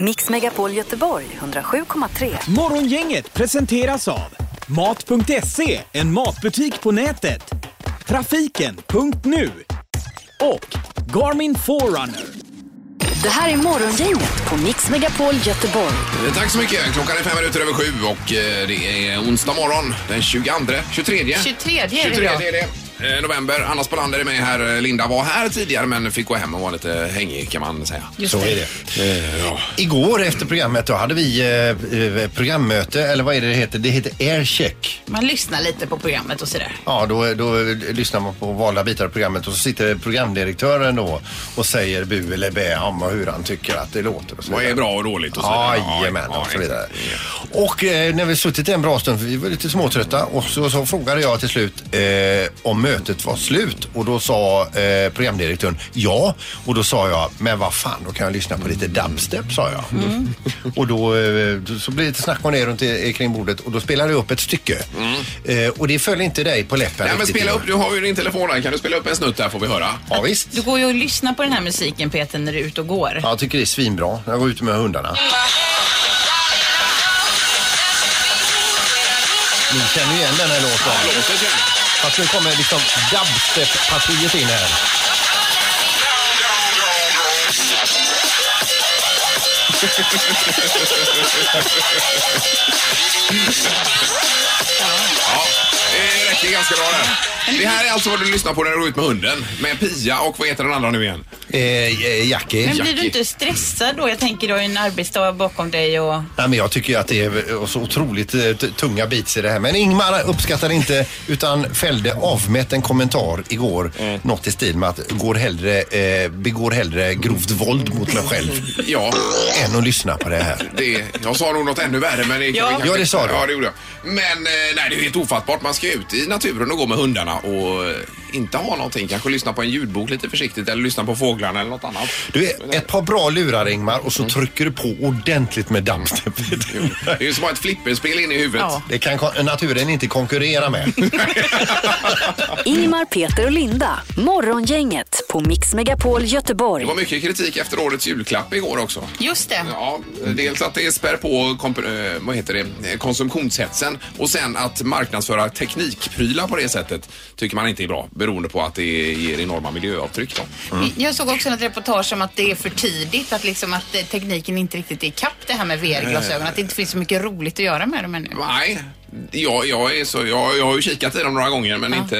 Mix Megapol Göteborg 107,3. Morgongänget presenteras av Mat.se, en matbutik på nätet. Trafiken.nu och Garmin Forerunner. Det här är Morgongänget på Mix Megapol Göteborg. Eh, Tack så mycket. Klockan är fem minuter över sju och eh, det är onsdag morgon den 22, 23. 23 är det 23 idag. är det. Eh, November. Anna Spolander är med här. Eh, Linda var här tidigare men fick gå hem och vara lite hängig kan man säga. Just Så det. är det. Eh, Igår efter programmet då hade vi eh, eh, programmöte, eller vad är det det heter? Det heter aircheck. Man lyssnar lite på programmet och sådär. Ja, då, då lyssnar man på valda bitar av programmet och så sitter programdirektören då och säger bu eller bä om hur han tycker att det låter. Och så Vad vidare. är bra och dåligt och så vidare. Ja, Jajamän ja, och så vidare. exakt. Och eh, när vi suttit en bra stund, för vi var lite småtrötta, och så, så frågade jag till slut eh, om mötet var slut och då sa eh, programdirektören ja och då sa jag men vad fan då kan jag lyssna på lite dubstep sa jag. Mm. Och då eh, då- så blev det lite snack och ner runt i, kring bordet och då spelade jag upp ett stycke eh, och det föll inte dig på läppen. Mm. Nej men riktigt, spela Johan. upp, du har ju din telefon där. Kan du spela upp en snutt där får vi höra. Ja, visst. Du går ju och lyssnar på den här musiken Peter när du är ute och går. Ja, jag tycker det är svinbra när jag går ute med hundarna. Ni känner ju igen den här låten. Låter så här. Fast nu kommer liksom dubstep-partiet in här. Ja, det räcker ganska bra där. Det här är alltså vad du lyssnar på när du går ut med hunden. Med Pia och vad heter den andra nu igen? Eh, Jackie. Men blir Jackie. du inte stressad då? Jag tänker du har ju en arbetsdag bakom dig och... Nej, men jag tycker ju att det är så otroligt eh, t- tunga beats i det här. Men Ingmar uppskattar inte utan fällde avmätt en kommentar igår. Något i stil med att går hellre, eh, begår hellre grovt våld mot mig själv Ja, än att lyssna på det här. det, jag sa nog något ännu värre men det kan Ja. vi kanske- Ja, det sa du. Ja, det gjorde jag. Men eh, nej, det är ju helt ofattbart. Man ska ut i naturen och gå med hundarna och eh, inte ha någonting. Kanske lyssna på en ljudbok lite försiktigt eller lyssna på fåglarna eller något annat. Du är ett par bra lurar Ingmar och så trycker du på ordentligt med dubstep. Det är ju som att ha ett flipperspel inne i huvudet. Ja. Det kan kon- naturen inte konkurrera med. Ingemar, Peter och Linda. Morgongänget på Mix Megapol Göteborg. Det var mycket kritik efter årets julklapp igår också. Just det. Ja, dels att det spär på komp- eh, vad heter det? eh, konsumtionshetsen och sen att marknadsföra teknikprylar på det sättet tycker man inte är bra beroende på att det ger enorma miljöavtryck. Då. mm. Jag såg också ett reportage om att det är för tidigt, att, liksom att eh, tekniken inte riktigt är ikapp det här med VR-glasögon. Att det inte finns så mycket roligt att göra med dem ännu. Nej, jag, jag, är så, jag, jag har ju kikat i dem några gånger men inte,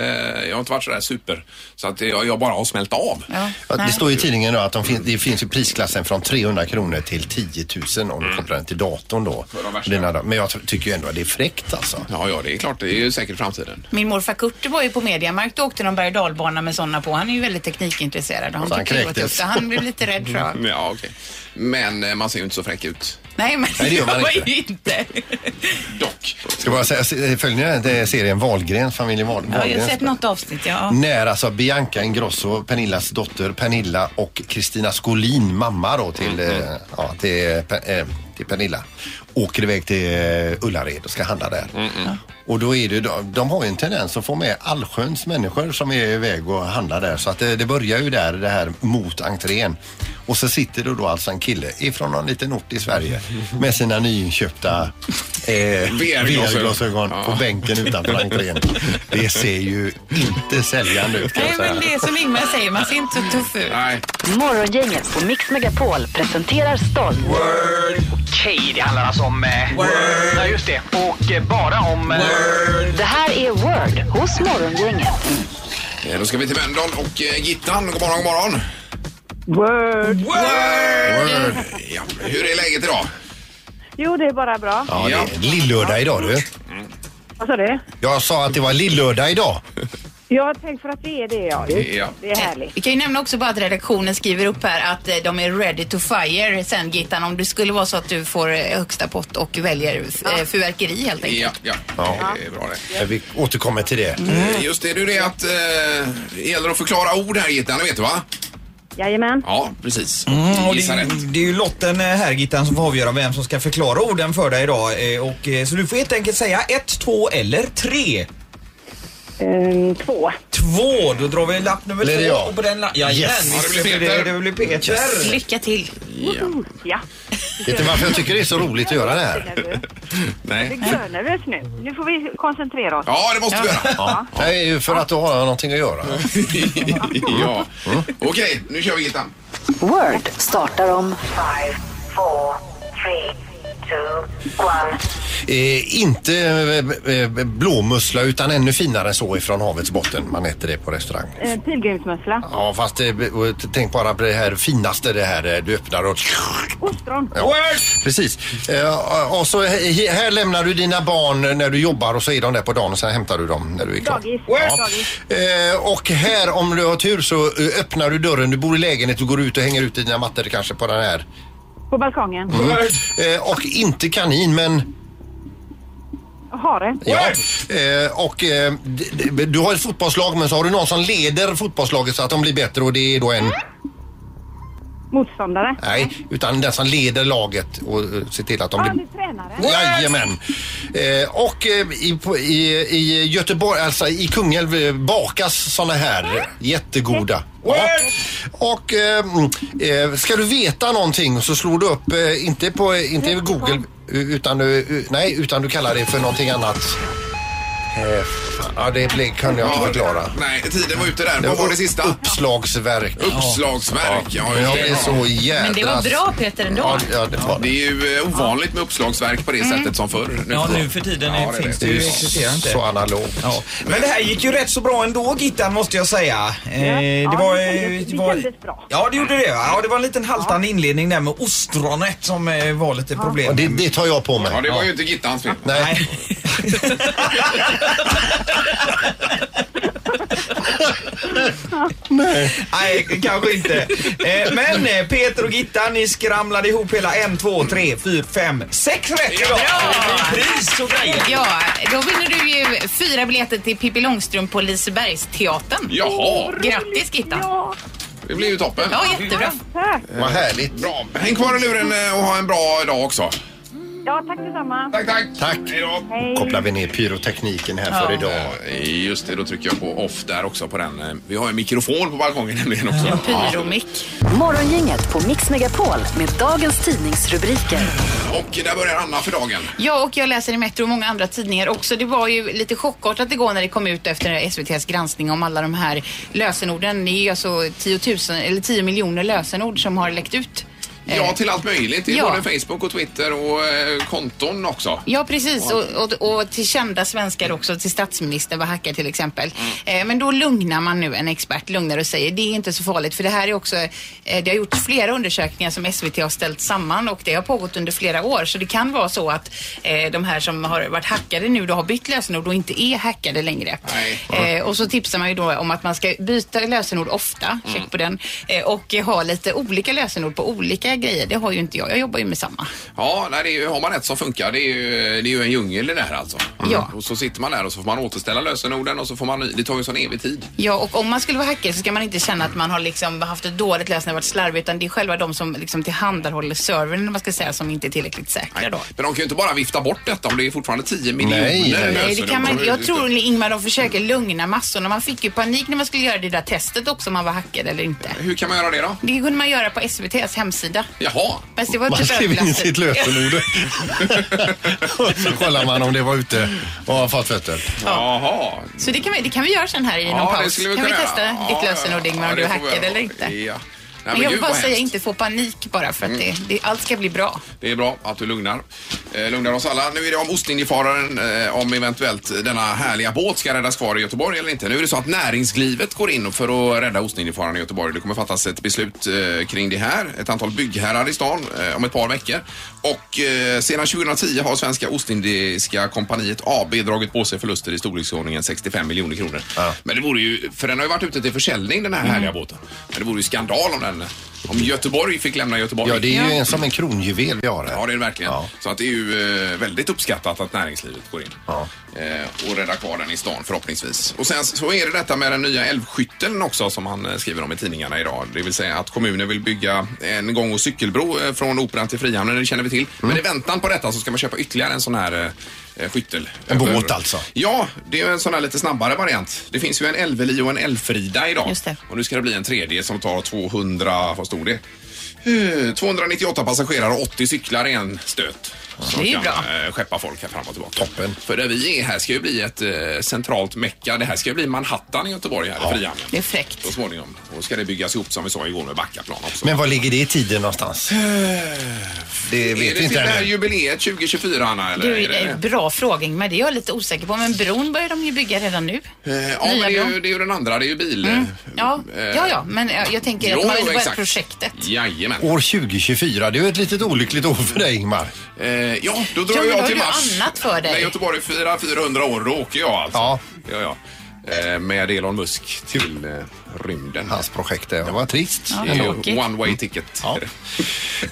jag har inte varit sådär super så att jag, jag bara har smält av. Ja. Ja, Det Nej. står i tidningen då att de fin- det finns ju prisklassen från 300 kronor till 10 000 om du kopplar den till datorn då. Mm. de värsta. Dina da- Men jag t- tycker ju ändå att det är fräckt alltså. Ja, ja, det är klart, det är ju säkert framtiden. Min morfar Kurt var ju på Mediamarkt och åkte någon berg och dalbana med sådana på. Han är ju väldigt teknikintresserad. och Han, Så han tyckte det var kräktes. tufft, så han blev lite rädd tror jag. Ja, okej. Men eh, man ser ju inte så fräck ut, Nej, men Nej, det gör man jag var inte. ju inte. dock. Ska bara säga, se- följer ni den här serien Wahlgren, familjen Wahl- Ja, jag har Wahlgren? sett något avsnitt, ja. När alltså Bianca Ingrosso, Pernillas dotter, Pernilla och Kristina Skolin, mamma då till, eh, ja, till, eh, Per- eh, till Pernilla, åker iväg till eh, Ullared och ska handla där. Och då är det, de, de har ju en tendens att få med allsköns människor som är iväg och handlar där. Så att eh, det, det börjar ju där, det här mot entrén. Och så sitter det då alltså en kille ifrån någon liten ort i Sverige med sina nyinköpta eh, VR-glasögon. VR-glasögon på Ja. bänken utanför entrén. Det ser ju inte säljande ut kan Nej, jag men det säga. är som Ingmar säger, man ser inte så tuff ut. Nej. Morgongänget på Mix Megapol presenterar stolt. Okej, det handlar alltså om... Eh, Word. Ja, just det. Och eh, bara om... Eh, Det här är Word hos Morgongänget. Eh, Då ska vi till Mölndal och eh, Gittan. God morgon, god morgon. Word. Word. Ja. Hur är läget idag? Jo, det är bara bra. Ja, det är lillördag idag du. Vad sa du? Jag sa att det var lillördag idag. Ja, tänk för att det är det, ja. Just. Ja. Det är härligt. Vi kan ju nämna också bara att redaktionen skriver upp här att eh, de är ready to fire sen Gittan om det skulle vara så att du får eh, högsta pott och väljer eh, fyrverkeri helt enkelt. Ja, ja. Det är bra det. Men Vi återkommer till det. Eh, Just det, det är det att eh, det gäller att förklara ord här Gittan, det vet du va? Jajamän. Ja, precis. Mm, och Gissa det, rätt. det är ju lotten eh, här Gittan som får avgöra vem som ska förklara orden för dig idag. eh, Och, eh, så du får helt enkelt säga ett, två eller tre. Ehm, två. Två, då drar vi lapp nummer Blir det två. jag? Och på den la- Jajamän, Yes. visst Ja, det blir är det- Peter. Det blir Peter. Lycka till. Ja. Mm, Ja. Vet du varför jag tycker det är så roligt att göra det här? Jag Nej. Mm. är görnervös nu. Nu får vi koncentrera oss. Ja, det måste vi göra. Ja. Det är ju för att du har någonting att göra. ja. Okej, nu kör vi Gittan. Word startar om Eh, inte eh, eh, blåmussla utan ännu finare än så ifrån havets botten. Man äter det på restaurang. Eh, pilgrimsmussla. Ja, fast eh, och tänk bara på det här finaste, det här eh, du öppnar och... Ostron. Ja, precis. Eh, och så he- här lämnar du dina barn när du jobbar och så är de där på dagen och sen hämtar du dem när du är klar. Dagis. Ja. Dagis. Eh, och här om du har tur så eh, öppnar du dörren, du bor i lägenhet, du går ut och hänger ut dina mattor kanske på den här. På balkongen. Eh, och inte kanin men... Hare. Ja. Eh, och eh, d- d- du har ett fotbollslag men så har du någon som leder fotbollslaget så att de blir bättre och det är då en... Motståndare. Nej, utan den som leder laget och eh, ser till att de Ja, blir... du tränare. Jajamän. Eh, och eh, i, på- i, i Göteborg, alltså i Kungälv eh, bakas såna här jättegoda. Ja. Och eh, mm, eh, ska du veta någonting så slår du upp, eh, inte på, inte Google, u- utan du, u- nej, utan du kallar det för någonting annat. Eh, fan, ja, det blev, kunde jag inte förklara. Nej, tiden var ute där. Vad var det sista? Uppslagsverk. Uppslagsverk. Ja, Jag just är det. så jädra... Men det var bra Peter ändå. Ja, ja, det var Det det. är ju eh, ovanligt med uppslagsverk på det sättet som förr. Ja, tiden. nu för tiden Mm. eh, Ja, finns vet det ju jag. existerar inte. Så analogt. Ja. Men det här gick ju rätt så bra ändå Gittan måste jag säga. Eh, Ja, det ja, var, det eh, kändes- det kändes bra. Ja det gjorde det ja. Det var en liten haltande inledning där med ostronet som eh, var lite Och problem. Det, det tar jag på mig. Ja, det var ju inte Gittans fel. Nej. Nej. Nej, kanske inte. Eh, Men eh, Peter och Gitta, ni skramlade ihop hela en, två, tre, fyra, fem, sex rätt idag. Det blir Pris och grejer. Ja, då vinner du ju fyra biljetter till Pippi Långstrump på Lisebergsteatern. Jaha, Grattis Gitta. Ja, det blev ju toppen. Ja, jättebra. tack. Vad härligt. Bra. Häng kvar i luren eh, och ha en bra dag också. Ja, tack detsamma. Tack, tack. Tack. Hej då. Hej. kopplar vi ner pyrotekniken här för idag. Eh, Just det, då trycker jag på off där också på den. eh, Vi har en mikrofon på balkongen nämligen också. Pyromick. Morgongänget på Mix Megapol med dagens tidningsrubriker. Och där börjar Anna för dagen. Ja, och jag läser i Metro och många andra tidningar också. Det var ju lite chockartat igår när det kom ut efter SVTs granskning om alla de här lösenorden. Det är ju alltså 10, 000, eller 10 miljoner lösenord som har läckt ut. Eh, Ja, till allt möjligt. Det är Ja. både Facebook och Twitter och eh, konton också. Ja, precis. Och, och, och till kända svenskar också, till statsministern var hackad till exempel. Eh, men då lugnar man nu en expert, lugnar och säger det är inte så farligt för det här är också, eh, det har gjorts flera undersökningar som SVT har ställt samman och det har pågått under flera år. Så det kan vara så att eh, de här som har varit hackade nu då har bytt lösenord och inte är hackade längre. Nej. Eh, och så tipsar man ju då om att man ska byta lösenord ofta, check på den, eh, och ha lite olika lösenord på olika grejer. Det har ju inte jag, jag jobbar ju med samma. Ja, nej, det är ju, har man ett som funkar, det är ju, det är ju en djungel det där alltså. Ja. Och så sitter man där och så får man återställa lösenorden och så får man ny. Det tar ju sån evig tid. Ja, och om man skulle vara hackare så ska man inte känna att man har liksom haft ett dåligt lösenord, varit slarvig, utan det är själva de som liksom tillhandahåller servern, eller vad man ska säga, som inte är tillräckligt säkra då. Men de kan ju inte bara vifta bort detta om det är fortfarande 10 miljoner nej, nej. Nej, det lösenord. kan man, inte. jag alltså Det- tror Ingmar de försöker lugna massorna. Man fick ju panik när man skulle göra det där testet också om man var hackad eller inte. Hur kan man göra det då? Det kunde man göra på SVTs hemsida. Jaha. Men det var Man typ skrev in överklassen. sitt lösenord. och så kollar man om det var ute och har fått fötter. Jaha. Så det kan, vi, det kan vi göra sen här i någon det paus. skulle Kan vi kunna testa göra. ditt Ja, lösenord Ingmar om det du är får vi hackad göra. eller inte? Ja. Nej, Men jag gud, vill bara vad säga, hemskt. Mm. inte få panik bara för att det, det, allt ska bli bra. Det är bra att du lugnar. Eh, lugnar oss alla. Nu är det om Ostindiefararen, eh, om eventuellt denna härliga båt ska räddas kvar i Göteborg eller inte. Nu är det så att näringslivet går in för att rädda Ostindiefararen i Göteborg. Det kommer fattas ett beslut eh, kring det här. Ett antal byggherrar i stan eh, om ett par veckor. Och eh, sedan 2010 har Svenska Ostindiska kompaniet AB dragit på sig förluster i storleksordningen 65 miljoner kronor. Men det vore ju, för den har ju varit ute till försäljning den här Mm. härliga båten. Men det vore ju skandal om den, om Göteborg fick lämna Göteborg. Ja, det är ju en, som en kronjuvel vi har Ja, här. det är det verkligen. Ja. Så att det är ju eh, väldigt uppskattat att näringslivet går in Ja. eh, och räddar kvar den i stan förhoppningsvis. Och sen så är det detta med den nya älvskytteln också som han eh, skriver om i tidningarna idag. Det vill säga att kommunen vill bygga en gång och Mm. cykelbro eh, från Operan till Frihamnen, det känner vi till. Men i väntan på detta så ska man köpa ytterligare en sån här eh, eh, skyttel. En över- båt alltså. Ja, det är ju en sån här lite snabbare variant. Det finns ju en Elveli och en Elfrida idag. Just det. Och nu ska det bli en tredje som tar 200, vad stod det? Eh, 298 passagerare och 80 cyklar i en stöt. Som Det är ju kan bra. eh, skeppa folk här fram och tillbaka. Toppen. För där vi är här ska ju bli ett eh, centralt mecka. Det här ska ju bli Manhattan i Göteborg här i Frihamnen. Det är fräckt. Så småningom. Och då ska det byggas ihop som vi sa igår med Backaplan också. Men var ligger det i tiden någonstans? Det vet är det vi till inte det här ännu. jubileet 2024 Anna? Eller? Du, är det... eh, bra fråga Ingmar, det är jag lite osäker på. Men bron börjar de ju bygga redan nu. Eh, Ja, men Nya det är, ju, bron. det är ju den andra, det är ju bil... Mm. Ja, eh, ja, ja, men eh, jag tänker jo, att man vill jo, börja exakt. projektet. Jajamän. År 2024, det är ju ett litet olyckligt år för dig Ingmar. Eh, ja, då drar Ja, men då jag har till du mars. annat för dig. När Göteborg firar 400 år, då åker jag alltså. Ja. ja, ja. Eh, med Elon Musk till eh, rymden. Hans projekt, det var trist. Det är ju tråkigt. one way ticket. Ja. är det.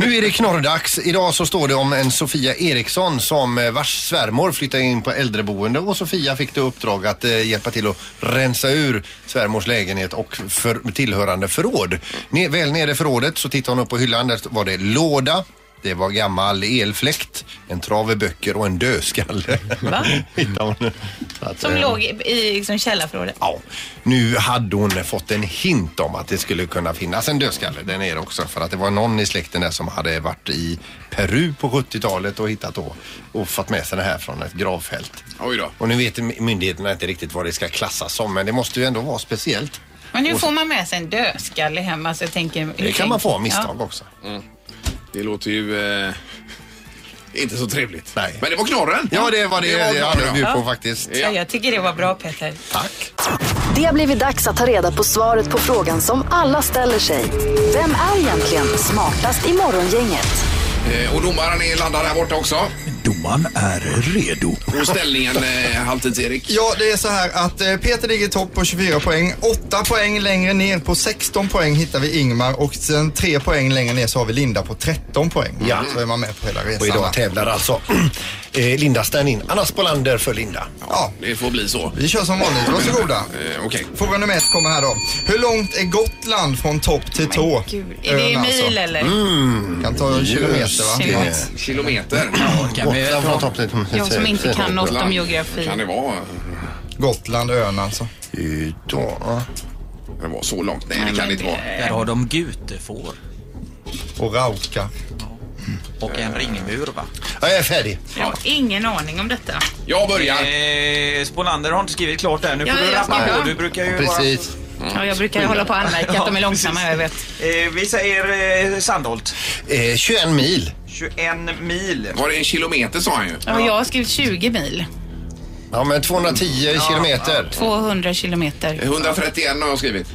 Nu är det knorrdags. Idag så står det om en Sofia Eriksson som eh, vars svärmor flyttade in på äldreboende och Sofia fick det uppdrag att eh, hjälpa till att rensa ur svärmors lägenhet och för, tillhörande förråd. Ne- väl nere i förrådet så tittade hon upp på hyllan. Där var det låda. Det var gammal elfläkt, en trave böcker och en dödskalle. Va? Hittade hon. Så att, Som eh, låg i- i liksom, källarförrådet. Ja, nu hade hon fått en hint om att det skulle kunna finnas en dödskalle där nere också för att det var någon i släkten där som hade varit i Peru på 70-talet och hittat då och fått med sig det här från ett gravfält. Oj då. Och nu vet myndigheterna inte riktigt vad det ska klassas som men det måste ju ändå vara speciellt. Men nu får man med sig en dödskalle hem. Alltså, jag tänker, Det kan man få av misstag också. Det låter ju... Eh, inte så trevligt. Nej. Men det var knorren. Ja, det var det jag hade att bjuda på faktiskt. Ja. Ja, jag tycker det var bra Peter. Tack. Det har blivit dags att ta reda på svaret på frågan som alla ställer sig. Vem är egentligen smartast i morgongänget? Eh, och domaren är landad där borta också. Domaren är redo. Och ställningen, eh, halvtids-Erik. Ja, det är så här att eh, Peter ligger i topp på 24 poäng. 8 poäng längre ner på 16 poäng hittar vi Ingmar och sen 3 poäng längre ner så har vi Linda på 13 poäng. Ja. Så är man med på hela resan. Och idag här. tävlar alltså eh, Linda Sternin, Anna Spolander för Linda. ja, Det får bli så. vi kör som vanligt. Varsågoda. Eh, Okej. Fråga nummer ett kommer här då. Hur långt är Gotland från topp till tå? Gud, är det Ön alltså. alltså. mil eller? Kan ta kilometer va? Kilometer. Eh, Kilometer. Gotland från toppen till- Jag som inte kan något om Kan geografi. det vara, Gotland, ön alltså. Idag. kan det vara så långt? Nej, det kan det inte vara. Där har de gutefår Och Rauka. och en ringmur va? Ja, jag är färdig. Jag har ingen aning om detta. Jag börjar. Eh, Spolander har inte skrivit klart än. Nu får Ja, du jag rappa ska- på. Du brukar ju Precis. Ja, jag brukar hålla på och anmärka att de är långsamma, jag vet. vara... Eh, vi säger eh, Sandholt. Eh, 21 mil. 21 mil. Var det en kilometer sa han ju. Ja, jag har skrivit 20 mil, Ja, men 210 kilometer. 200 kilometer. 131 har jag skrivit.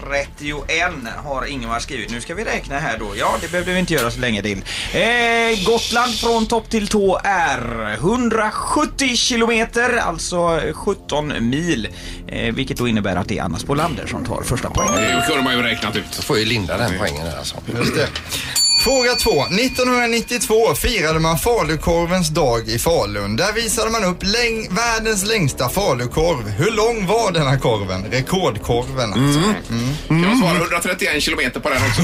131 har Ingvar skrivit. Nu ska vi räkna här då. Ja, det behövde vi inte göra så länge till. Eh, Gotland från topp till tå är 170 kilometer, alltså 17 mil. Eh, vilket då innebär att det är Anna Spolander som tar första poängen. Det kunde man ju räknat ut. Får ju Linda den poängen här alltså. Just det. Fråga två. 1992 firade man falukorvens dag i Falun. Där visade man upp läng- världens längsta falukorv. Hur lång var denna korven? Rekordkorven alltså. Kan Mm. man svara 131 kilometer på den också?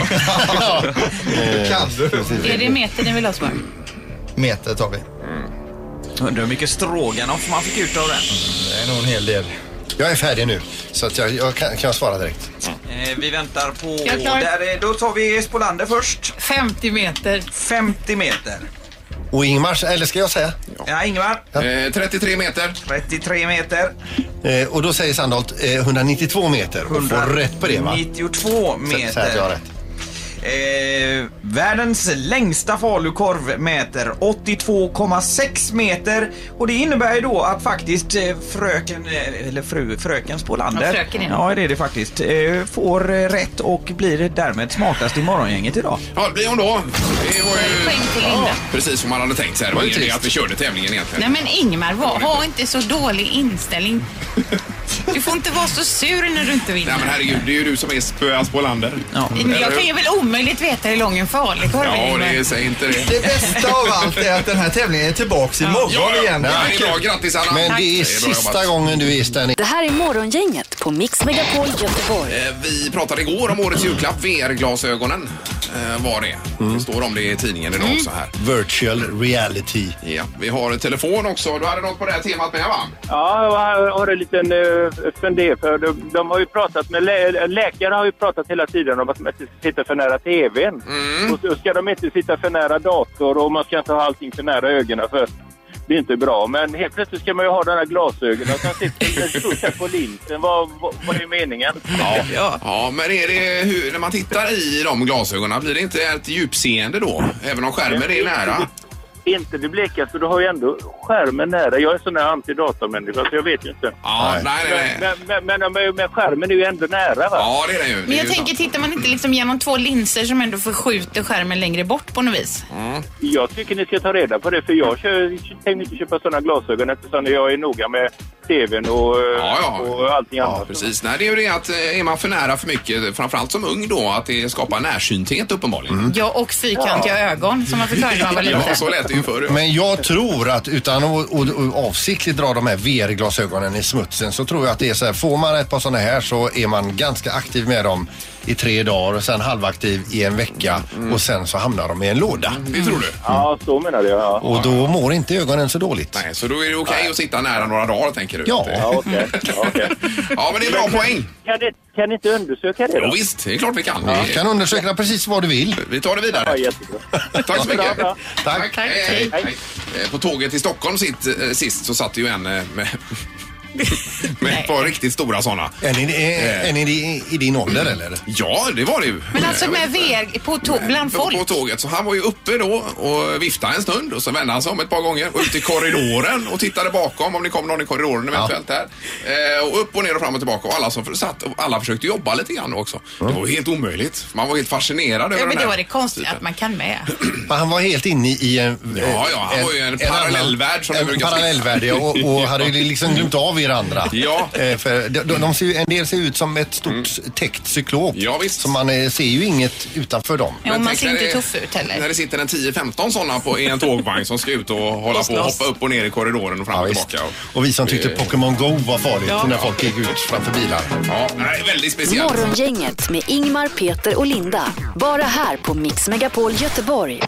Kan du? Är det meter ni vill ha svar? Meter tar vi. Undrar hur mycket stroganoff man fick ut av den. Det är nog en hel del. Jag är färdig nu, så att jag, jag kan, kan jag svara direkt. Eh, vi väntar på... Jag klarar- Där, eh, då tar vi Spolander först. 50 meter. 50 meter. Och Ingmars, eller ska jag säga? Ja, Ingvar. Eh, 33 meter. 33 meter. Eh, och då säger Sandholt eh, 192 meter. Och får rätt på det va? 92 Sä- Säg att jag har meter. rätt. Eh, världens längsta falukorv mäter 82,6 meter och det innebär ju då att faktiskt eh, fröken, eh, eller fru, fröken Spolander, Ja, fröken, ja. ja det är det faktiskt, eh, får eh, rätt och blir därmed smartast i morgongänget idag. Ja, det blir hon då. Det var ju Poäng till Linda. precis som man hade tänkt sig. Det var ingen idé att vi körde tävlingen egentligen. Nej men Ingmar, var, ha inte så dålig inställning. Du får inte vara så sur när du inte vinner. Nej men herregud, det är ju du som är spöas på lander. Ja. Jag kan ju väl omöjligt veta hur lång en falukorv Ja, är. det säg inte det. Det bästa av allt är att den här tävlingen är tillbaks imorgon Ja, ja, igen. ja, det är bra. Grattis Anna! Men det är sista gången du är stand Det här är Morgongänget på Mix Megapol Göteborg. Eh, Vi pratade igår om årets julklapp, VR-glasögonen eh, var det. Mm. Det står om det i tidningen idag också här. Virtual reality. Ja, vi har en telefon också. Du hade något på det här temat med va? Ja, jag har en liten uh, fundering för de, de har ju pratat med lä- läkare har ju pratat hela tiden om att man inte ska sitta för nära tvn. Och så ska de inte sitta för nära dator och man ska inte ha allting för nära ögonen för det är inte bra. Men helt plötsligt ska man ju ha de här glasögonen och sen sitter den stuckar på linsen. Vad, vad, vad är meningen? Ja. ja. men är det hur, när man tittar i de glasögonen, blir det inte ett djupseende då? Även om skärmen är nära? Inte det blekaste, för du har ju ändå skärmen nära. Jag är sån här antidatamänniska så jag vet ju inte. Ja, nej, nej, Men, men, men, men, men skärmen är ju ändå nära va? Ja, det är den ju. Men jag tänker, tittar man inte liksom genom två linser som ändå förskjuter skärmen längre bort på något vis? Jag tycker ni ska ta reda på det, för jag kö- tänker inte köpa sådana glasögon eftersom jag är noga med tvn och, eh, och allting annat. Precis. Nej, det är ju det att eh, är man för nära för mycket, framförallt som ung då, att det skapar närsynthet uppenbarligen. Ja, och fyrkantiga ögon som man fick höra när man var liten. Ja, så lät det ju förr. ja. Men jag tror att utan att och, och avsiktligt dra de här VR-glasögonen i smutsen så tror jag att det är så här. Får man ett par sådana här så är man ganska aktiv med dem i tre dagar och sen halvaktiv i en vecka och sen så hamnar de i en låda. Det tror du? Ja, så menar jag. Ja. Och då mår inte ögonen så dåligt. Nej, så då är det okej att sitta nära några dagar, tänker du? Ja. Ja, okej. ja, men det är bra poäng. Kan ni, kan ni inte undersöka det? Jo, visst, det är klart vi kan. Du kan undersöka precis vad du vill. Vi tar det vidare. Tack så mycket. Bra, Tack. Hej, hej. Eh, På tåget till Stockholm sitt, eh, sist så satt det ju en eh, med, med ett par riktigt stora sådana. Är ni, är, är ni i- i din ålder eller? Ja, det var det ju. Eh, Men alltså med VR på tå- bland på, folk. på tåget. Så han var ju uppe då och viftade en stund och så vände han sig om ett par gånger och ut i korridoren och tittade bakom om det kom någon i korridoren eventuellt där. Eh, och upp och ner och fram och tillbaka och alla som satt och alla försökte jobba lite grann också. Det var ju helt omöjligt. Man var helt fascinerad över Ja, men den här. då är det konstigt att man kan med. Men han var helt inne i en... Ja, ja, han var ju en parallellvärld som det en brukar säga. Mm. parallellvärld, ja, och, och hade ju liksom glömt av er andra. Ja. Mm. Eh, För de, de de ser, ju- en del ser ut som ett stort täckt cyklop. Ja, visst. Så man eh, ser ju inget utanför dem. Ja, och man tänk ser när inte det- tuff ut När heller. det sitter en 10-15 sådana på, i en tågvagn som ska ut och hålla på och hoppa upp och ner i korridoren och fram Ja, och visst. tillbaka. Och, Och vi som tyckte Pokémon Go var farligt Ja. när folk gick ut framför bilar. ja, nej, väldigt speciellt. Morgongänget med Ingmar, Peter och Linda. Bara här på Mix Megapol Göteborg.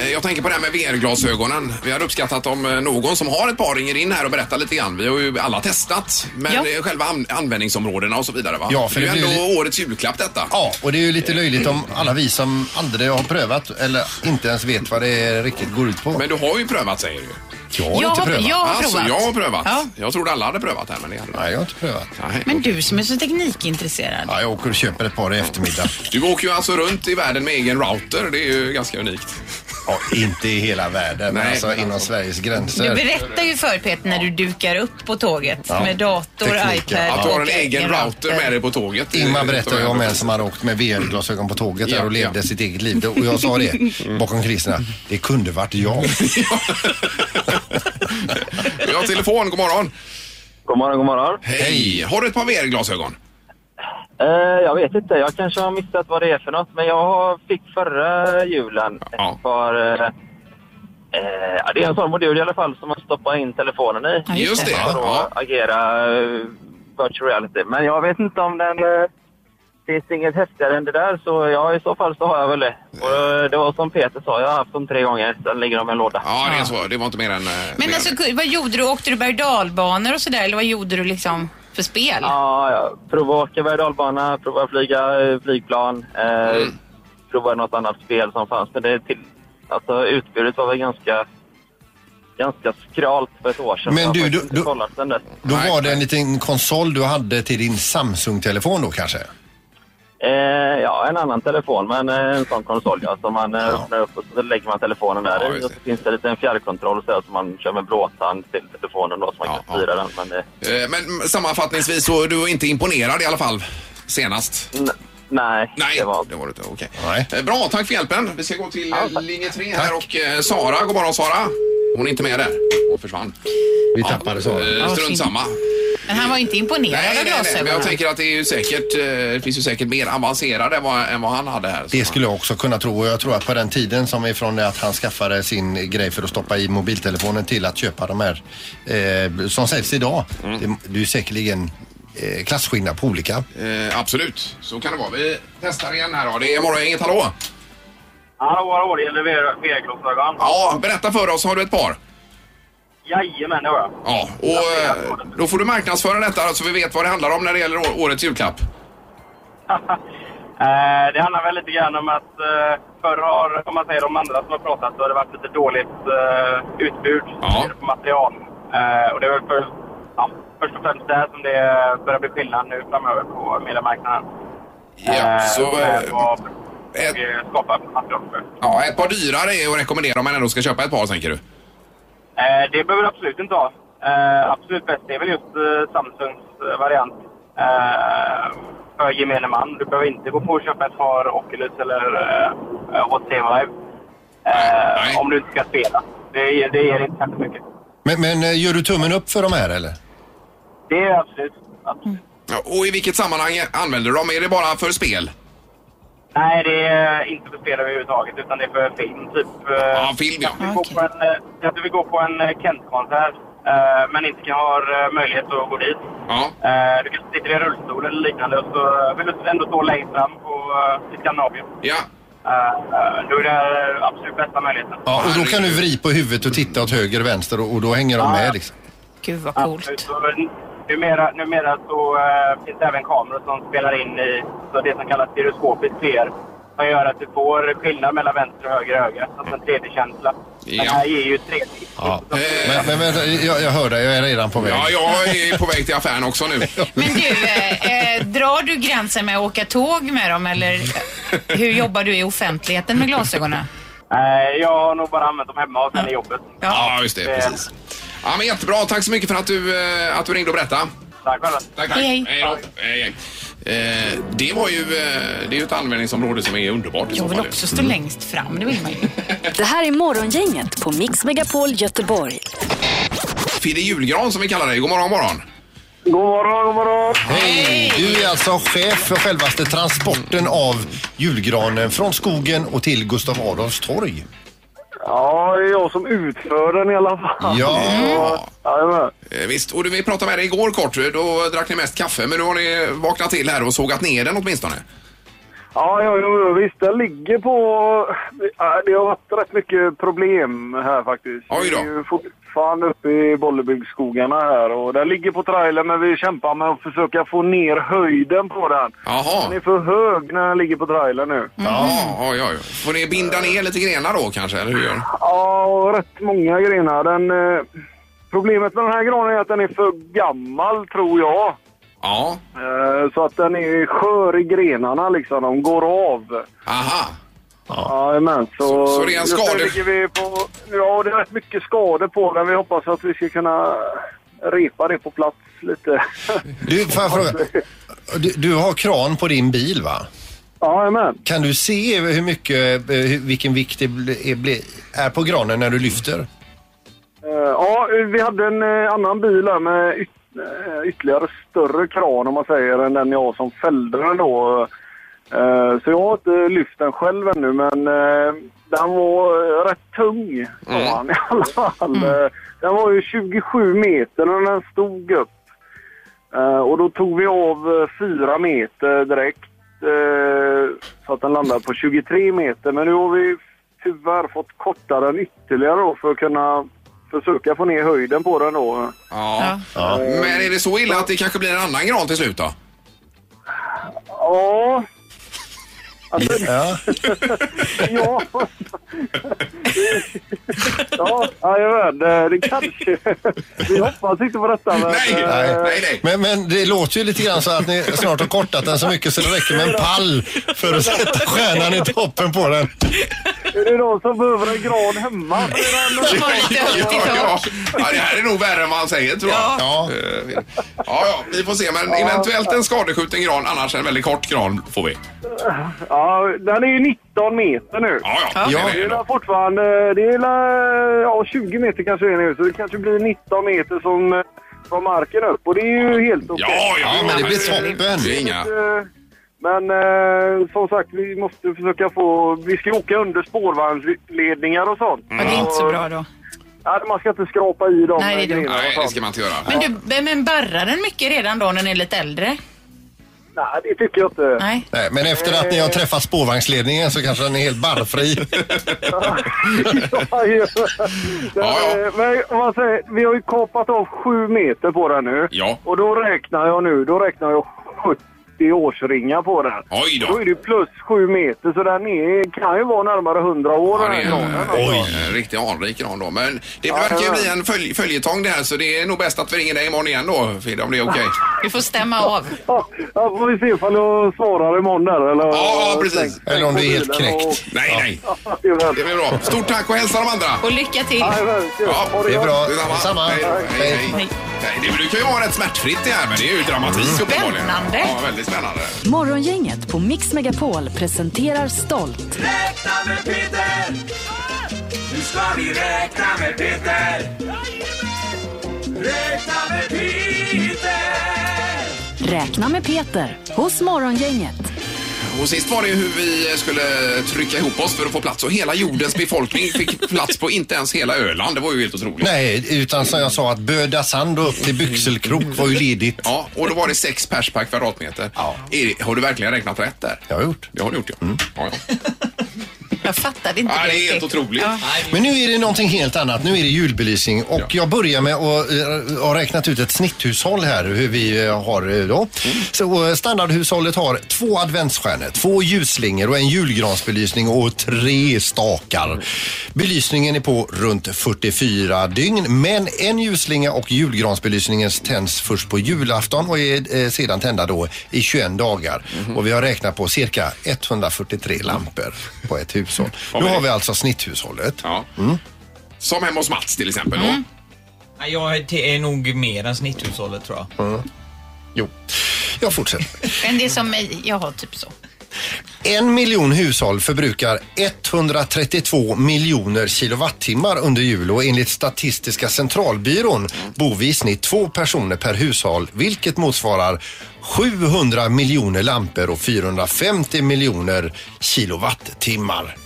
Eh, Jag tänker på det här med VR-glasögonen. Vi hade uppskattat om eh, någon som har ett par ringer in här och berättar lite grann. Vi har ju alla testat, men Ja. eh, själva an- användningsområdena och så vidare va? Ja, för det är det ju blir ändå ju- årets julklapp detta. Ja, och det är ju lite löjligt om alla vi som aldrig har prövat eller inte ens vet vad det riktigt går ut på. Men du har ju prövat säger du. jag har Jag inte har- prövat. jag har alltså, provat. jag har prövat. Ja. Jag trodde alla hade prövat här, men det hade Nej, jag har inte prövat. Nej. Men du som är så teknikintresserad. Ja, jag åker och köper ett par i eftermiddag. Du åker ju alltså runt i världen med egen router. Det är ju ganska unikt. Ja, inte i hela världen, men Nej. alltså inom Sveriges Du gränser. berättar ju för Peter när du dukar upp på tåget med dator, Tekniken. iPad Att du har en och egen router med dig på tåget. Ingmar berättade ju om en en som hade åkt med VR-glasögon på tåget där Ja, Mm. och levde ja. sitt eget liv. Och jag sa det bakom kulisserna. Det kunde varit jag. Vi har telefon, god morgon. God morgon, god morgon. Hej! Har du ett par VR-glasögon? Eh, jag vet inte, jag kanske har missat vad det är för något, men jag har- fick förra julen Ja. ett par... Eh, eh, ja, det är en sån modul i alla fall som man stoppar in telefonen i. Ja, just det. För Ja. att agera eh, virtual reality. Men jag vet inte om den... Eh, finns det inget häftigare än det där så ja, i så fall så har jag väl det. Och eh, det var som Peter sa, jag har haft dem tre gånger. Sen ligger de i en låda. Ja, det är så. Det var inte mer än... eh, mer Men än- alltså, ku- vad gjorde du? Åkte du berg och dalbanor och sådär? Eller vad gjorde du liksom för spel? Ja, ja. Prova att åka berg och dalbana, prova att flyga eh, flygplan, eh, prova något annat spel som fanns. Men det till, alltså, utbudet var väl ganska, ganska skralt för ett år sedan. Alltså, Men Jag har du, du- faktiskt inte du- kollat sen dess. Då Nej. var det en liten konsol du hade till din Samsung-telefon då kanske? Eh, ja, en annan telefon, men eh, en sån konsol ja, som man eh, öppnar upp och så lägger man telefonen där Ja, i. just Och så det. finns det en liten fjärrkontroll så där, som man kör med blåtand till telefonen då, så man Ja, kan styra den. Men, eh, Eh, Men mm, sammanfattningsvis så är du inte imponerad i alla fall senast? n- nej, Nej, det var det var du inte. Okej. Nej. Eh, Bra, tack för hjälpen. Vi ska gå till eh, linje 3 här och eh, Sara. God morgon Sara. Hon är inte med där. Hon försvann. Vi tappade så. Eh, Strunt samma. Men han var ju inte imponerad Nej, av nej, nej, men glasögonen. jag tänker att det, är ju säkert, eh, det finns ju säkert mer avancerade än vad, än vad han hade här. Det skulle jag också kunna tro och jag tror att på den tiden som är från det att han skaffade sin grej för att stoppa i mobiltelefonen till att köpa de här eh, som säljs idag. Mm. Det, det är ju säkerligen eh, klasskillnad på olika. Eh, absolut, så kan det vara. Vi testar igen här då. Det är Morgongänget, hallå! Hallå, hallå, det gäller VR-glasögon. Ja, berätta för oss, har du ett par? Jajamän, det har jag. Ja, och eh, då får du marknadsföra detta så vi vet vad det handlar om när det gäller å- årets julklapp. Eh, det handlar väl lite grann om att eh, förr har, om man säger de andra som har pratat, så har det varit lite dåligt eh, utbud på material. Eh, och det är väl för, ja, först och främst där som det börjar bli skillnad nu framöver på mediemarknaden. Ja, så, eh, vad vi skapar för eh, material för. Ja, ett par dyrare är att rekommendera om man ändå ska köpa ett par, tänker du? Eh, det behöver du absolut inte ha. Eh, absolut bäst det är väl just eh, Samsungs eh, variant eh, för gemene man. Du behöver inte gå på och köpa ett par Oculus eller eh, HTC Vive eh, om du inte ska spela. Det, det ger inte särskilt mycket. Men, men eh, gör du tummen upp för de här eller? Det är absolut. Ja, och i vilket sammanhang använder du dem? Är det bara för spel? Nej, det är inte för spel överhuvudtaget utan det är för film. Typ, ja, film ja. Att vi går på en, eh, att vi går på en eh, Kent-konsert eh, men inte kan ha eh, möjlighet att gå dit. Ja. Eh, du kanske sitter i rullstol eller liknande och så vill du ändå stå längst fram på, eh, i Skandinavien. Ja. Eh, eh, då är det här absolut bästa möjligheten. Ja, och då kan du vrida på huvudet och titta åt höger och vänster och, och då hänger de med liksom. Gud vad coolt. Numera, numera så eh, finns det även kameror som spelar in i så det som kallas stereoskopisk VR. Som gör att du får skillnad mellan vänster och höger öga. Alltså en 3D-känsla. Den här ger ju 3D. Ja. Men, men, men jag, jag hör dig, jag är redan på väg. Ja, jag är på väg till affären också nu. Men du, eh, eh, drar du gränsen med att åka tåg med dem eller eh, hur jobbar du i offentligheten med glasögonen? Eh, jag har nog bara använt dem hemma och sen i jobbet. Ja, just det. Eh. Precis. Ja, men jättebra. Tack så mycket för att du, eh, att du ringde och berättade. Tack själva. Tack, tack. Hej, hej. då. hej, hej. Eh, det var ju eh, det är ju ett användningsområde som är underbart. Jag vill också stå längst fram, det vill man ju. Det här är Morgongänget på Mix Megapol Göteborg. Fidde Julgran som vi kallar dig. God morgon, god morgon. God morgon, god morgon. Hej! Du är alltså chef för självaste transporten av julgranen från skogen och till Gustav Adolfs torg. Ja, det är jag som utför den i alla fall. Ja. Ja. Eh, Visst, och du, vi pratade med dig igår kort. Eh, Då drack ni mest kaffe, men nu har ni vaknat till här och sågat ner den åtminstone. Ja, ja, ja, ja visst. Den ligger på... ja, Det har varit rätt mycket problem här faktiskt. Oj då. Vi är ju fortfarande uppe i Bollebygdsskogarna här och den ligger på trailern men vi kämpar med att försöka få ner höjden på den. Jaha. Mm. Den är för hög när den ligger på trailern nu. Ja, oj, oj. Får ni binda ner lite grenar då kanske, eller hur gör ni? Ja, och rätt många grenar. Den, eh, problemet med den här granen är att den är för gammal, tror jag. Ja. Eh, så att den är skör i grenarna, liksom. De går av. Aha. Ja. Jajamän, Så- så, så det är en just nu skade- ligger vi på, ja, det är rätt mycket skador på den. Vi hoppas att vi ska kunna repa det på plats lite. Du, får jag fråga? Du, du har kran på din bil va? Jajamän. Kan du se hur mycket, eh, hur- vilken vikt det bli- är, bli- är på granen när du lyfter? Eh, Ja, vi hade en eh, annan bil här med yt, eh, ytterligare större kran om man säger än den jag har som fällde den då. Eh, Så jag har inte lyft den själv ännu men eh, den var eh, rätt tung sa Mm. han i alla fall. Eh, Den var ju 27 meter när den stod upp. Eh, Och då tog vi av eh, fyra meter direkt eh, så att den landade på 23 meter. Men nu har vi tyvärr fått korta den ytterligare då för att kunna försöka få ner höjden på den då. Ja. Men är det så illa att det kanske blir en annan gran till slut då? Ja. Alltså, ja. ja. ja, jajamän. Det det kanske... Vi hoppas inte på detta. Men, nej, Men, men det låter ju lite grann så att ni snart har kortat den så mycket så det räcker med en pall för att sätta stjärnan i toppen på den. eh, Är det någon som behöver en gran hemma? ja. ja, det här är nog värre än vad han säger tror jag. Ja. Ja, ja, vi får se. Men eventuellt en skadeskjuten gran, annars en väldigt kort gran får vi. Ja, den är ju 19 meter nu. Ja, ja. Ja. Det är väl fortfarande... Det är väl, ja, 20 meter kanske det är nu, så det kanske blir 19 meter som eh, från marken upp och det är ju helt okej. Ja, ja, ja, men det blir toppen. Det är inga- Men eh, som sagt, vi måste försöka få... Vi ska ju åka under spårvagnsledningar och sånt. Ja, det är inte så bra då. Nej, man ska inte skrapa i dem. Nej, det är dumt. grejerna och Nej, det sånt. ska man inte göra. Men, du, men barrar den mycket redan då när den är lite äldre? Nej, det tycker jag inte. Nej. Nej, men efter att ni har träffat spårvagnsledningen så kanske den är helt barrfri. Ja, ju. Eh, Men om man säger, vi har ju kapat av sju meter på den nu. Ja. Och då räknar jag nu, då räknar jag 70 årsringar på den. Oj då! är det ju plus sju meter, så den är, kan ju vara närmare 100 år. den här granen. Oj. En riktig anrik gran då. Men det verkar ju ja. bli en följ, följetong det här så det är nog bäst att vi ringer dig imorgon igen då Fidde om det är okej. Du får stämma av. Ja, får vi se ifall jag svarar imorgon där eller? Ja, precis. Tänk- tänk på bilen och- Nej, nej. Det blir bra. Stort tack och hälsa de andra. Och lycka till. Ja, det är bra. Detsamma. Detsamma. Hej, då. hej, hej. Hej. Nej, Det brukar ju vara rätt smärtfritt det här men det är ju dramatik uppenbarligen. Spännande. Ja, väldigt spännande. Morgongänget på Mix Megapol presenterar stolt Räkna med Peter! Nu ska vi räkna med Peter! Räkna med Peter! Räkna med Peter hos Morgongänget. Och sist var det ju hur vi skulle trycka ihop oss för att få plats och hela jordens befolkning fick plats på inte ens hela Öland. Det var ju helt otroligt. Nej, utan som jag sa att Böda Sand och upp till Byxelkrok var ju ledigt. Ja, och då var det sex pers per kvadratmeter. Är det- Har du verkligen räknat rätt där? Jag har gjort. Mm. Det har du gjort, ja. ja, ja. Jag fattade inte Ja, det är riktigt. helt otroligt. Men nu är det någonting helt annat. Nu är det julbelysning och jag börjar med att eh, ha räknat ut ett snitthushåll här hur vi eh, har eh, då. Så eh, standardhushållet har två adventsstjärnor, två ljusslingor och en julgransbelysning och tre stakar. Belysningen är på runt 44 dygn men en ljusslinga och julgransbelysningen tänds först på julafton och är eh, sedan tända då i 21 dagar. Och vi har räknat på cirka 143 lampor på ett hushåll. Nu har vi alltså snitthushållet. Mm. Som hemma hos Mats till exempel. då. Nej, Jag är- det är nog mer än snitthushållet tror jag. Jo, jag fortsätter. Men det är som mig, jag har typ så. En miljon hushåll förbrukar 132 miljoner kilowattimmar under jul och enligt Statistiska centralbyrån bor vi i snitt två personer per hushåll vilket motsvarar 700 miljoner lampor och 450 miljoner kilowattimmar.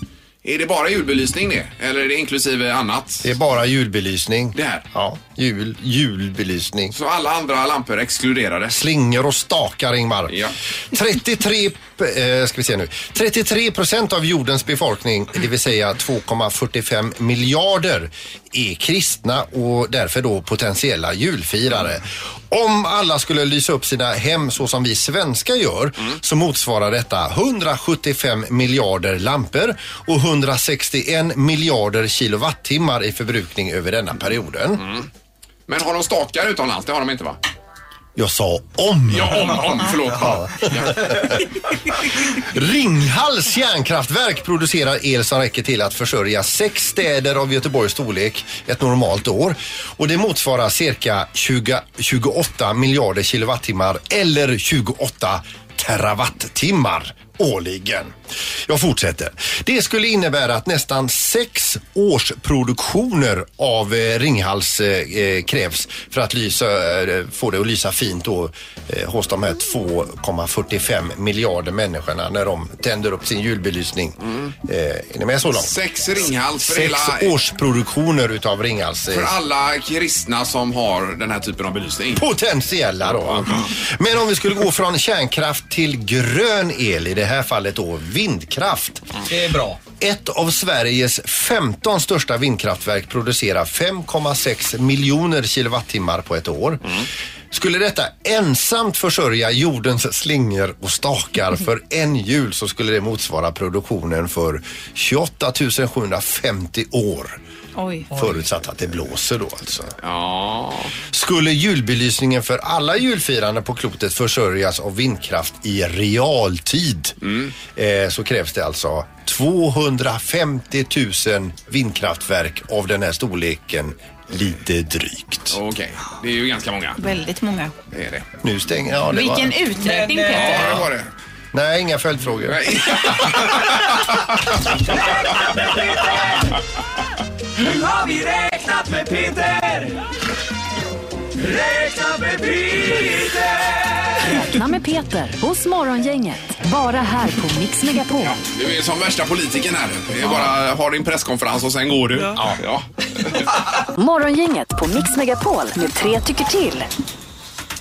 Är det bara julbelysning det? Eller är det inklusive annat? Det är bara julbelysning. Det här? Ja, jul, julbelysning. Så alla andra lampor exkluderade? Slingor och stakar, Ingmar. 33, eh, ska vi se nu. 33 procent av jordens befolkning, det vill säga 2,45 miljarder, är kristna och därför då potentiella julfirare. Om alla skulle lysa upp sina hem så som vi svenskar gör så motsvarar detta 175 miljarder lampor och 161 miljarder kilowattimmar i förbrukning över denna perioden. Men har de stakar utomlands? Det har de inte va? Jag sa om. Ja, om, om, förlåt. Ja. Ringhals kärnkraftverk producerar el som räcker till att försörja sex städer av Göteborgs storlek ett normalt år. Och det motsvarar cirka 20, 28 miljarder kilowattimmar eller 28 terawattimmar årligen. Jag fortsätter. Det skulle innebära att nästan sex års produktioner av eh, Ringhals eh, eh, krävs för att lysa, eh, få det att lysa fint då, eh, hos de här 2,45 miljarder människorna när de tänder upp sin julbelysning. Eh, är ni med så långt? Mm. Sex Ringhals för Sex hela- års produktioner utav Ringhals. eh, För alla kristna som har den här typen av belysning? Potentiella då. Mm. Men om vi skulle gå från kärnkraft till grön el, i det här fallet då vindkraft. Mm. Det är bra. Ett av Sveriges 15 största vindkraftverk producerar 5,6 miljoner kilowattimmar på ett år. Skulle detta ensamt försörja jordens slingor och stakar för en jul så skulle det motsvara produktionen för 28 750 år. Oj. Förutsatt att det blåser då alltså. Ja. Skulle julbelysningen för alla julfirande på klotet försörjas av vindkraft i realtid eh, så krävs det alltså 250 000 vindkraftverk av den här storleken lite drygt. Okej, det är ju ganska många. Väldigt många. Det är det. eh, Nu stänger jag. det var- Vilken uträkning Peter. Ja, det var det. Nej, inga följdfrågor. Nu har vi räknat med Peter! Räkna med Peter! Räkna med Peter hos Morgongänget. Bara här på Mix Megapol. Du är som värsta politikern här. Det är bara har din presskonferens och sen går du. Ja. Ja. Morgongänget på Mix Megapol med tre tycker till.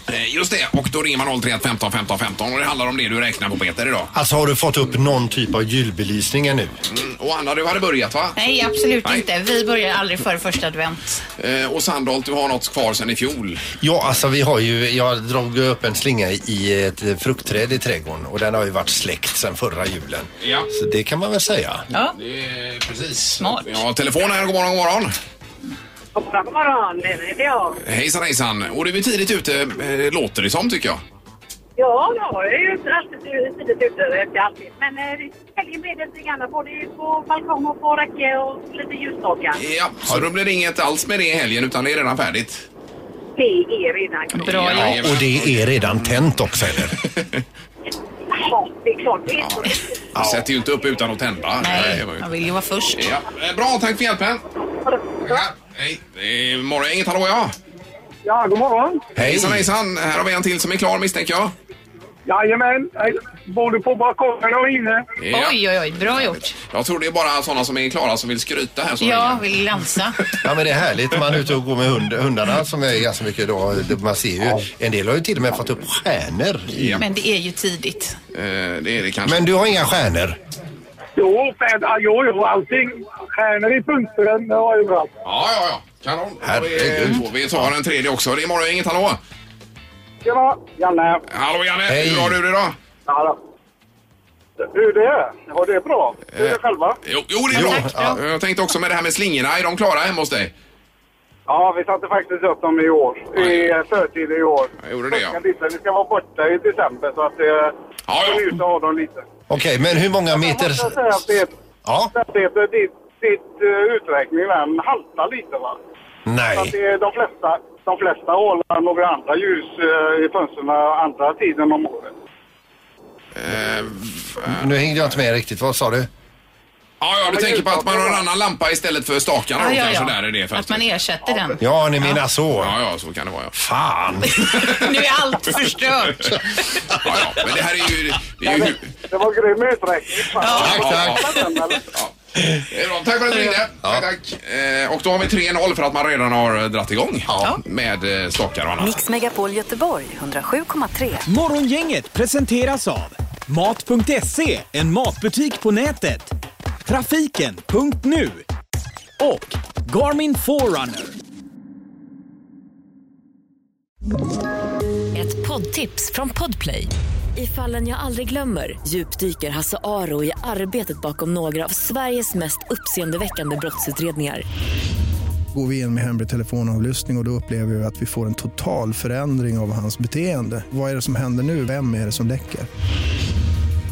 Eh, Just det, och då ringer man 031 15 15 15 och det handlar om det du räknar på Peter idag. Alltså har du fått upp någon typ av julbelysning ännu? Mm, Och Anna, du hade börjat va? Nej, absolut Nej. inte. Vi börjar aldrig före första advent. Eh, Och Sandholt, du har något kvar sen i fjol. Ja, alltså vi har ju, jag drog upp en slinga i ett eh, fruktträd i trädgården och den har ju varit släckt sedan förra julen. Ja. Så det kan man väl säga. Ja. Det är precis. Smart. Ja, telefon här. God morgon, god morgon. God morgon, det är jag. Hejsan, hejsan. Och du är tidigt ute, eh, låter det som tycker jag. Ja, jag är ju alltid tidigt ute efter alltid. Men eh, vi säljer med lite grann både på balkong och på räcke och lite ljusstakar. Ja, så då blir det inget alls med det i helgen utan det är redan färdigt. Det är redan klart. ja, Och det är redan tänt också eller? Ja, det är klart. Det är så. Du sätter ju inte upp utan att tända. Nej, Man vill ju vara först. Ja. Eh, Bra, tack för hjälpen. Hej. Det är morgon, inget hallå ja. Ja, god morgon. Hejsan, hejsan. Här har vi en till som är klar misstänker jag. Jajamän, hej. både på balkongen och inne. Ja. Oj, oj, oj. Bra gjort. Jag tror det är bara sådana som är klara som vill skryta här. Så Ja, vill lansa. Ja men det är härligt när man är ute och går med hund, hundarna som är ganska mycket då. Man ser ju, en del har ju till och med fått upp stjärnor. i- Men det är ju tidigt. Eh, det är det kanske. Men du har inga stjärnor? Jo, fed, ah, jo, jo, allting. Stjärnor i fönstren och överallt. Ja, ja, ja. Kanon. Herregud. Då får vi tar den tredje också. Det är morgon, inget hallå. Tjena, Janne. Hallå Janne, hur har du det idag? Ja, då. Hur det är? Ja, det är bra. Hur är det själva? Jo, jo det är bra. Ja, Jag tänkte också med det här med slingorna. Är de klara hemma hos dig? Ja, vi satte faktiskt upp dem i år. I eh, förtid i år. Jag gjorde det, ja. Lite. Vi ska vara borta i december så att eh, ja, ja. vi ut och ha dem lite. Okej, men hur många meter? Jag säger att det, ja. det, ditt, ditt eh, uträkning den haltar lite va? Nej. Så att det, är de flesta, de flesta ålar några andra ljus eh, i fönstren andra tiden om året. Nu hängde jag inte med riktigt, vad sa du? Ja, ja, du tänker på att man har en annan lampa istället för stakarna då Ja, ja, kanske ja. där är det Att fönstret. man ersätter den. Ja, ni menar så. Ja, ja, så kan det vara. Ja. Fan! Nu är allt förstört. ja, ja, men det här är ju... Det är ju... Det var grym uträkning. fan. Det är bra. Tack för att du ringde. Tack, tack. Eh, Och då har vi 3-0 för att man redan har eh, dratt igång med eh, stakar och annat. Mix Megapol Göteborg 107,3. Morgongänget presenteras av Mat.se, en matbutik på nätet. Trafiken.nu och Garmin Forerunner. Ett poddtips från Podplay. I fallen jag aldrig glömmer djupdyker Hasse Aro i arbetet bakom några av Sveriges mest uppseendeväckande brottsutredningar. Går vi in med hemlig telefonavlyssning och, och då upplever vi att vi får en total förändring av hans beteende. Vad är det som händer nu? Vem är det som läcker?